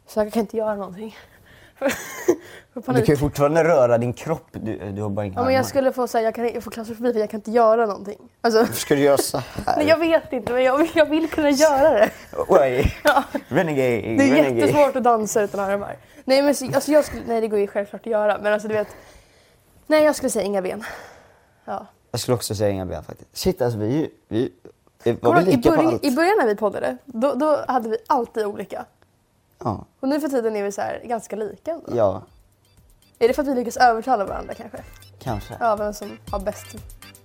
Speaker 2: Så jag kan inte göra någonting. *laughs* För
Speaker 1: Men du
Speaker 2: panik.
Speaker 1: kan ju fortfarande röra din kropp. Du, du har bara inga
Speaker 2: Ja, men
Speaker 1: armar.
Speaker 2: jag skulle få säga, jag kan jag får klaustrofobi för jag kan inte göra någonting. Alltså, *laughs*
Speaker 1: Ska du göra så här?
Speaker 2: nej, jag vet inte, men jag, jag vill kunna göra
Speaker 1: *laughs*
Speaker 2: det.
Speaker 1: Oj.
Speaker 2: Ja.
Speaker 1: Renegade.
Speaker 2: *laughs* Det är
Speaker 1: renegade.
Speaker 2: jättesvårt att dansa utan armar. Nej, men så, alltså, jag skulle, nej, det går ju självklart att göra. Men alltså du vet. Nej, jag skulle säga inga ben. Ja.
Speaker 1: Jag skulle också säga inga ben faktiskt. Shit alltså vi är ju... Vi, vi, var
Speaker 2: Kommer
Speaker 1: vi
Speaker 2: du
Speaker 1: lika på
Speaker 2: ihåg, I, början,
Speaker 1: allt?
Speaker 2: I början när vi poddade, då, då hade vi alltid olika.
Speaker 1: Ja.
Speaker 2: Och nu för tiden är vi så här ganska lika. ändå.
Speaker 1: ja,
Speaker 2: Är det för att vi lyckas övertala varandra kanske?
Speaker 1: kanske.
Speaker 2: Ja, vem som har bäst.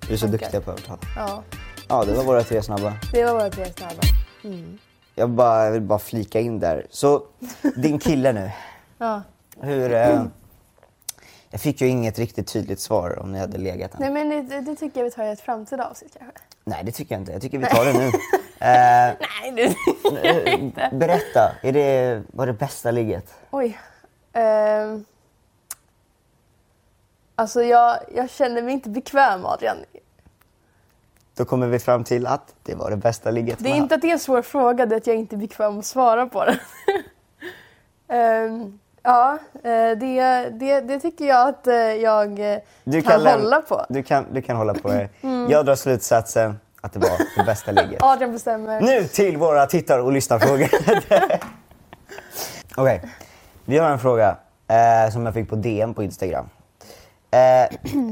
Speaker 1: Vi är så
Speaker 2: Tankar.
Speaker 1: duktiga på att övertala.
Speaker 2: Ja,
Speaker 1: Ja, det var våra tre snabba.
Speaker 2: det var våra tre snabba.
Speaker 1: Jag, bara, jag vill bara flika in där. Så, din kille nu.
Speaker 2: Ja.
Speaker 1: Hur... Eh, jag fick ju inget riktigt tydligt svar om ni hade legat än.
Speaker 2: Nej,
Speaker 1: Nej.
Speaker 2: men det, det tycker jag vi tar i ett framtida avsnitt kanske.
Speaker 1: det tycker jag inte. Jag tycker vi tar det
Speaker 2: *laughs*
Speaker 1: nu. Eh,
Speaker 2: Nej, det
Speaker 1: eh, berätta, är det, vad är det bästa ligget?
Speaker 2: Oj. Ehm. Alltså jag, jag känner mig inte bekväm Adrian.
Speaker 1: Då kommer vi fram till att det var det bästa ligget
Speaker 2: Det är
Speaker 1: man
Speaker 2: inte
Speaker 1: haft.
Speaker 2: att det är en svår fråga, det är att jag inte är bekväm att svara på den. *laughs* Ehm, ja, eh, det, det, det tycker jag att eh, jag eh, kan
Speaker 1: läm-
Speaker 2: hålla Mm. på.
Speaker 1: Du kan, du kan hålla på det. Jag drar slutsatsen att det var det bästa ligget.
Speaker 2: Adrian bestämmer.
Speaker 1: Nu till våra tittar och *laughs* lyssnarfrågor. Okej, vi har en fråga eh, som jag fick på DM på Instagram. Eh,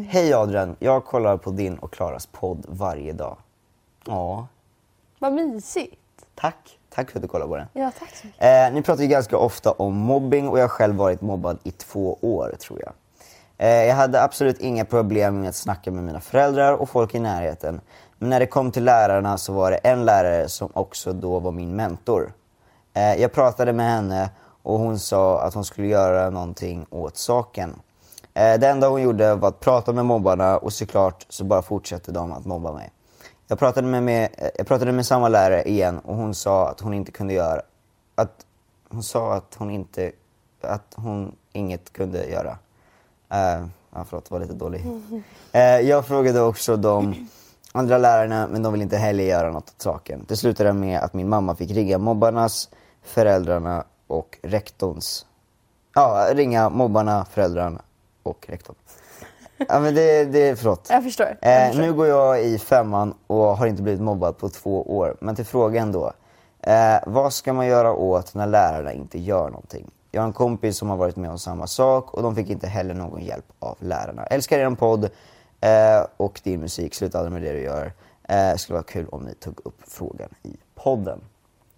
Speaker 1: Hej Adrian, jag kollar på din och Klaras podd varje dag. Ja,
Speaker 2: Vad mysigt.
Speaker 1: tack. Tack för att du kollar på den.
Speaker 2: Ja, tack så mycket.
Speaker 1: Eh, ni pratar ju ganska ofta om mobbing och jag har själv varit mobbad i två år tror jag. Eh, jag hade absolut inga problem med att snacka med mina föräldrar och folk i närheten. Men när det kom till lärarna så var det en lärare som också då var min mentor. Eh, jag pratade med henne och hon sa att hon skulle göra någonting åt saken. Eh, det enda hon gjorde var att prata med mobbarna och såklart så bara fortsatte de att mobba mig. Jag pratade med, med, eh, jag pratade med samma lärare igen och hon sa att hon inte kunde göra... Att hon sa att hon inte... Att hon inget kunde göra. Eh, ja, förlåt, var lite dålig. Eh, jag frågade också de andra lärarna men de ville inte heller göra något åt saken. Det slutade med att min mamma fick ringa mobbarnas, föräldrarna och rektorns... Ja, ringa mobbarna, föräldrarna och rektorn. Ja men det, det förlåt.
Speaker 2: Jag förstår. jag
Speaker 1: Eh,
Speaker 2: förstår.
Speaker 1: nu går jag i femman och har inte blivit mobbad på två år. Men till frågan då. Eh, vad ska man göra åt när lärarna inte gör någonting? Jag har en kompis som har varit med om samma sak och de fick inte heller någon hjälp av lärarna. Älskar er podd eh, och din musik. Sluta aldrig med det du gör. Eh, skulle vara kul om ni tog upp frågan i podden.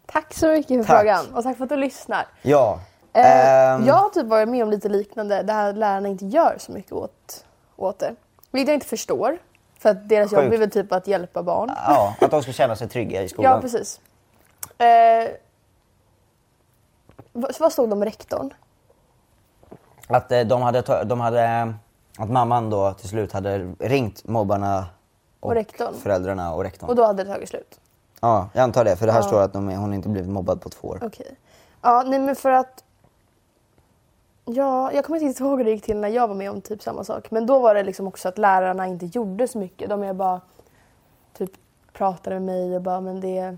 Speaker 2: Tack så mycket för
Speaker 1: Tack.
Speaker 2: frågan och tack för att du lyssnar.
Speaker 1: Ja.
Speaker 2: Eh,
Speaker 1: ehm,
Speaker 2: Jag har typ varit med om lite liknande, det här att lärarna inte gör så mycket åt, åt det. Vilket jag inte förstår, för att deras jobb
Speaker 1: Sjukt.
Speaker 2: är väl typ att hjälpa barn.
Speaker 1: ja. Att de ska känna sig trygga i skolan.
Speaker 2: Ja, precis. Eh, vad, vad stod det om rektorn?
Speaker 1: Att eh, de hade, ta- de hade, eh, att mamman då till slut hade ringt mobbarna och,
Speaker 2: Och rektorn.
Speaker 1: föräldrarna och rektorn.
Speaker 2: Och då hade det tagit slut.
Speaker 1: Ja, jag antar det för det här
Speaker 2: Ja.
Speaker 1: står att de, är- hon inte blivit mobbad på två år.
Speaker 2: Okej. Ja, nej men för att... Ja, jag kommer inte ihåg hur det gick till när jag var med om typ samma sak. Men då var det liksom också att lärarna inte gjorde så mycket. De är bara typ pratade med mig och bara men det...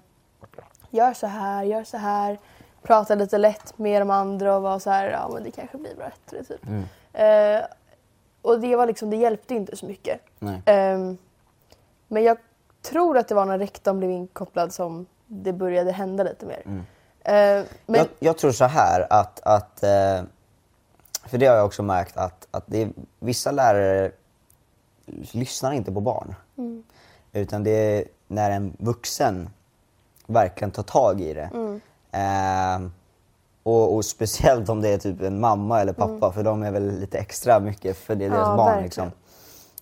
Speaker 2: Gör så här, gör så här. Pratade lite lätt med de andra och var så här, ja men det kanske blir bättre typ. Eh, och det var liksom, det hjälpte inte så mycket.
Speaker 1: Nej.
Speaker 2: Ehm, men jag tror att det var när rektorn blev inkopplad som det började hända lite mer. Ehm, men
Speaker 1: Mm. jag, jag tror så här att, att eh, för det har jag också märkt att, att det är, vissa lärare lyssnar inte på barn.
Speaker 2: Mm.
Speaker 1: Utan det är när en vuxen verkligen tar tag i det.
Speaker 2: Mm.
Speaker 1: Eh, och, och speciellt om det är typ en mamma eller pappa för de är väl lite extra mycket för det är deras
Speaker 2: Mm. Ja,
Speaker 1: barn.
Speaker 2: verkligen.
Speaker 1: Liksom.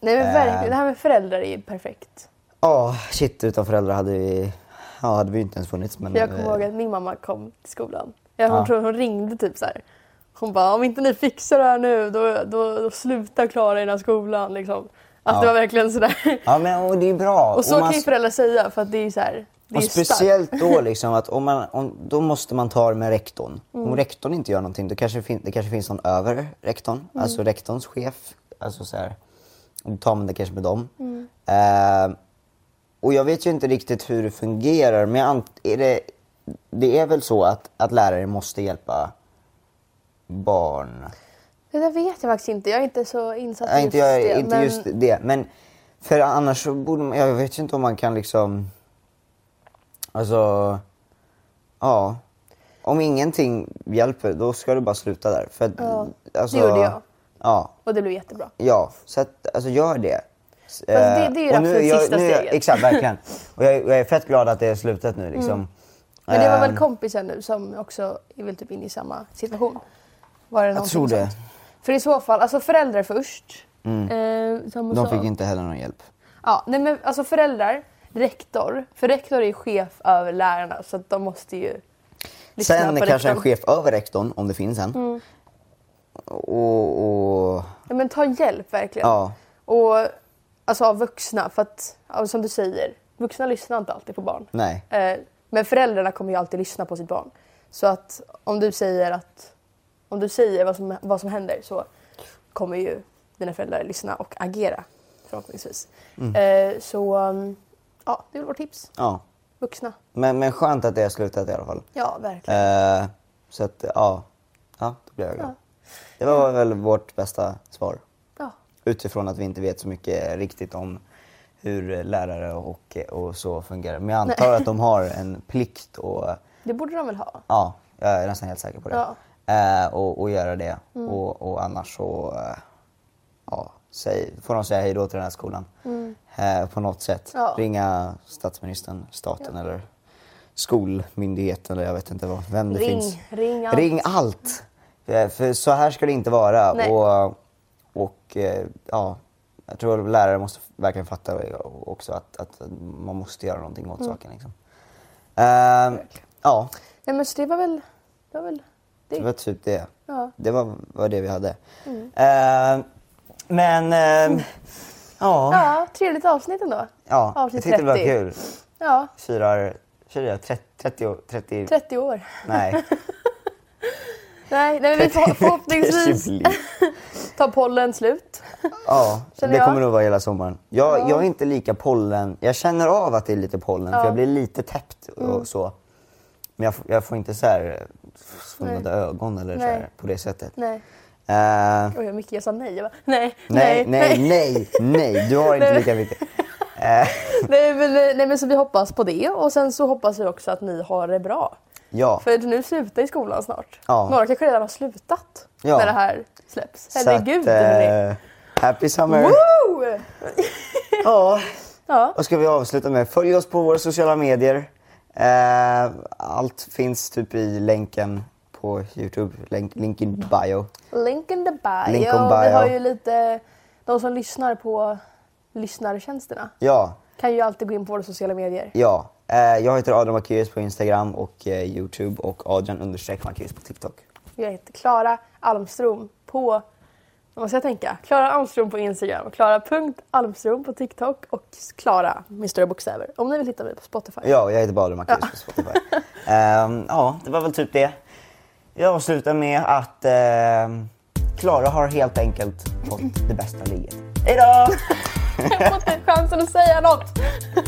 Speaker 2: nej men verkligen,
Speaker 1: ehm.
Speaker 2: det här med föräldrar är ju perfekt.
Speaker 1: Ja, shit utan föräldrar hade vi, ja, hade vi inte ens funnits. Men,
Speaker 2: För jag kommer
Speaker 1: eh,
Speaker 2: ihåg att min mamma kom till skolan. Jag, hon,
Speaker 1: Ja.
Speaker 2: tror, hon ringde typ så här. Hon bara, om inte ni fixar det här nu då, då, då slutar Klara i den här skolan. Liksom. Att
Speaker 1: Ja.
Speaker 2: det var verkligen sådär.
Speaker 1: Ja men och det är bra.
Speaker 2: Och så
Speaker 1: Och man
Speaker 2: kan ju föräldrar säga för att det är ju så här, det är
Speaker 1: Och
Speaker 2: ju starkt.
Speaker 1: speciellt
Speaker 2: *laughs*
Speaker 1: då liksom att om man, om, då måste man ta det med rektorn.
Speaker 2: Mm.
Speaker 1: Om rektorn inte gör någonting, då kanske det, fin- det kanske finns någon över rektorn,
Speaker 2: Mm.
Speaker 1: alltså rektorns chef. Alltså så här, då tar man det kanske med dem.
Speaker 2: Mm.
Speaker 1: Eh, och jag vet ju inte riktigt hur det fungerar men jag ant- är det, det är väl så att, att lärare måste hjälpa barn?
Speaker 2: Det där vet jag faktiskt inte. Jag är inte så insatt
Speaker 1: Nej,
Speaker 2: i
Speaker 1: inte, jag,
Speaker 2: det.
Speaker 1: inte
Speaker 2: men-
Speaker 1: just det. Men för annars så borde man, jag vet ju inte om man kan liksom, alltså, ja. Om ingenting hjälper då ska du bara sluta där. För att,
Speaker 2: Ja, det
Speaker 1: alltså,
Speaker 2: gjorde jag.
Speaker 1: Ja,
Speaker 2: Och det blev jättebra.
Speaker 1: ja. Så att, alltså gör det. Eh, Fast
Speaker 2: det- det är ju absolut sista steget.
Speaker 1: Exakt,
Speaker 2: *laughs*
Speaker 1: verkligen. Och jag, jag är fett glad att det är slutet nu liksom.
Speaker 2: Mm. Men det var
Speaker 1: Eh,
Speaker 2: väl kompisar nu som också är väl typ inne i samma situation? Var det någonting
Speaker 1: tror det. Mm.
Speaker 2: sånt? För i så fall, alltså föräldrar först. Eh, som hon
Speaker 1: De
Speaker 2: sa.
Speaker 1: fick inte heller någon hjälp.
Speaker 2: Ja, nej men alltså föräldrar, rektor. För rektor är ju chef över lärarna så att de måste ju lyssna
Speaker 1: Sen
Speaker 2: på
Speaker 1: kanske en
Speaker 2: rektorn.
Speaker 1: chef över rektorn, om det finns en.
Speaker 2: Mm.
Speaker 1: Och, och
Speaker 2: Ja, men ta hjälp verkligen.
Speaker 1: Ja.
Speaker 2: Och alltså av vuxna för att, ja, som du säger, vuxna lyssnar inte alltid på barn.
Speaker 1: nej.
Speaker 2: Eh, Men föräldrarna kommer ju alltid lyssna på sitt barn. Så att om du säger, att, om du säger vad, som, vad som händer så kommer ju dina föräldrar lyssna och agera förhoppningsvis.
Speaker 1: Mm.
Speaker 2: Eh, Så um, ja, det är väl vårt tips.
Speaker 1: Ja.
Speaker 2: Vuxna.
Speaker 1: Men, men skönt att det har slutat i alla fall.
Speaker 2: Ja, verkligen.
Speaker 1: Eh, så att, ja. Ja, då blev jag glad.
Speaker 2: Ja.
Speaker 1: Det var väl vårt bästa svar.
Speaker 2: Ja.
Speaker 1: Utifrån att vi inte vet så mycket riktigt om hur lärare och, och så fungerar. Men jag antar att de har en plikt och
Speaker 2: Det borde de väl ha.
Speaker 1: ja, jag är nästan helt säker på det.
Speaker 2: Ja. Mm.
Speaker 1: Eh, och, och göra det. Och, och annars så eh, ja, säg, får de säga hej då till den här skolan. Eh, på något sätt.
Speaker 2: Mm. Ja.
Speaker 1: Ringa statsministern, staten eller skolmyndigheten eller jag vet inte vad, vem det
Speaker 2: Ring,
Speaker 1: finns.
Speaker 2: ring allt.
Speaker 1: Ring allt! Eh, För så här ska det inte vara.
Speaker 2: Nej.
Speaker 1: Och, och eh, ja, Jag tror att lärare måste verkligen fatta också att, att man måste göra någonting
Speaker 2: Mm.
Speaker 1: åt saken. Liksom. Eh, ja,
Speaker 2: Nej men så det var väl... Det var väl
Speaker 1: det
Speaker 2: det.
Speaker 1: var typ det.
Speaker 2: Ja.
Speaker 1: Det var, var det vi hade.
Speaker 2: Mm.
Speaker 1: Eh, men... eh, ja,
Speaker 2: *laughs* ja, trevligt avsnitt ändå.
Speaker 1: ja. jag
Speaker 2: avsnitt
Speaker 1: tyckte det var
Speaker 2: 30.
Speaker 1: kul.
Speaker 2: Ja,
Speaker 1: Firar... Firar 30... 30, 30
Speaker 2: 30 år. *laughs*
Speaker 1: nej.
Speaker 2: Nej, nej
Speaker 1: *laughs*
Speaker 2: men vi får förhoppningsvis
Speaker 1: Jubileum.
Speaker 2: tar pollen slut.
Speaker 1: Ja,
Speaker 2: *laughs* Känner
Speaker 1: det
Speaker 2: jag.
Speaker 1: kommer nog vara hela sommaren. Jag,
Speaker 2: Ja.
Speaker 1: jag är inte lika pollen... Jag känner av att det är lite pollen
Speaker 2: Ja. Mm.
Speaker 1: för jag blir lite täppt och så. Men jag, f- jag får inte så här eh, svullnade ögon eller så
Speaker 2: Nej.
Speaker 1: här, på det sättet.
Speaker 2: Nej.
Speaker 1: Eh,
Speaker 2: Oj, vad mycket jag sa nej. Jag bara, nej,
Speaker 1: nej, nej,
Speaker 2: *laughs*
Speaker 1: nej, nej. Du har inte
Speaker 2: Nej.
Speaker 1: lika
Speaker 2: *laughs*
Speaker 1: mycket. Eh,
Speaker 2: Nej men, nej men så vi hoppas på det och sen så hoppas vi också att ni har det bra.
Speaker 1: Ja,
Speaker 2: För nu slutar ju skolan snart.
Speaker 1: Ja.
Speaker 2: Några kanske redan har slutat
Speaker 1: Ja.
Speaker 2: när det här släpps.
Speaker 1: så att,
Speaker 2: Herregud hörni.
Speaker 1: eh, Happy summer!
Speaker 2: Woo!
Speaker 1: Ja.
Speaker 2: Ja.
Speaker 1: Och ska vi avsluta med, följ oss på våra sociala medier. Eh, allt finns typ i länken på Youtube, länk, link in bio.
Speaker 2: Link in the bio.
Speaker 1: Link on
Speaker 2: Vi
Speaker 1: bio.
Speaker 2: har ju lite, de som lyssnar på lyssnartjänsterna
Speaker 1: Ja,
Speaker 2: kan ju alltid gå in på våra sociala medier.
Speaker 1: ja. Eh, jag heter Adrian Marcus på Instagram och eh, Youtube och Adrian understreck Marcus på TikTok.
Speaker 2: Jag heter Klara Almström på... Vad måste jag tänka? Klara Almström på Instagram, Klara.almström på TikTok och Klara med stora bokstäver. Om ni vill hitta mig på Spotify.
Speaker 1: Ja, och jag heter bara Adrian Marcus på Spotify. *laughs* Ehm, ja, det var väl typ det. Jag avslutar med att ehm, Klara har helt enkelt fått det bästa ligget. Hejdå!
Speaker 2: Jag har inte chansen att säga något!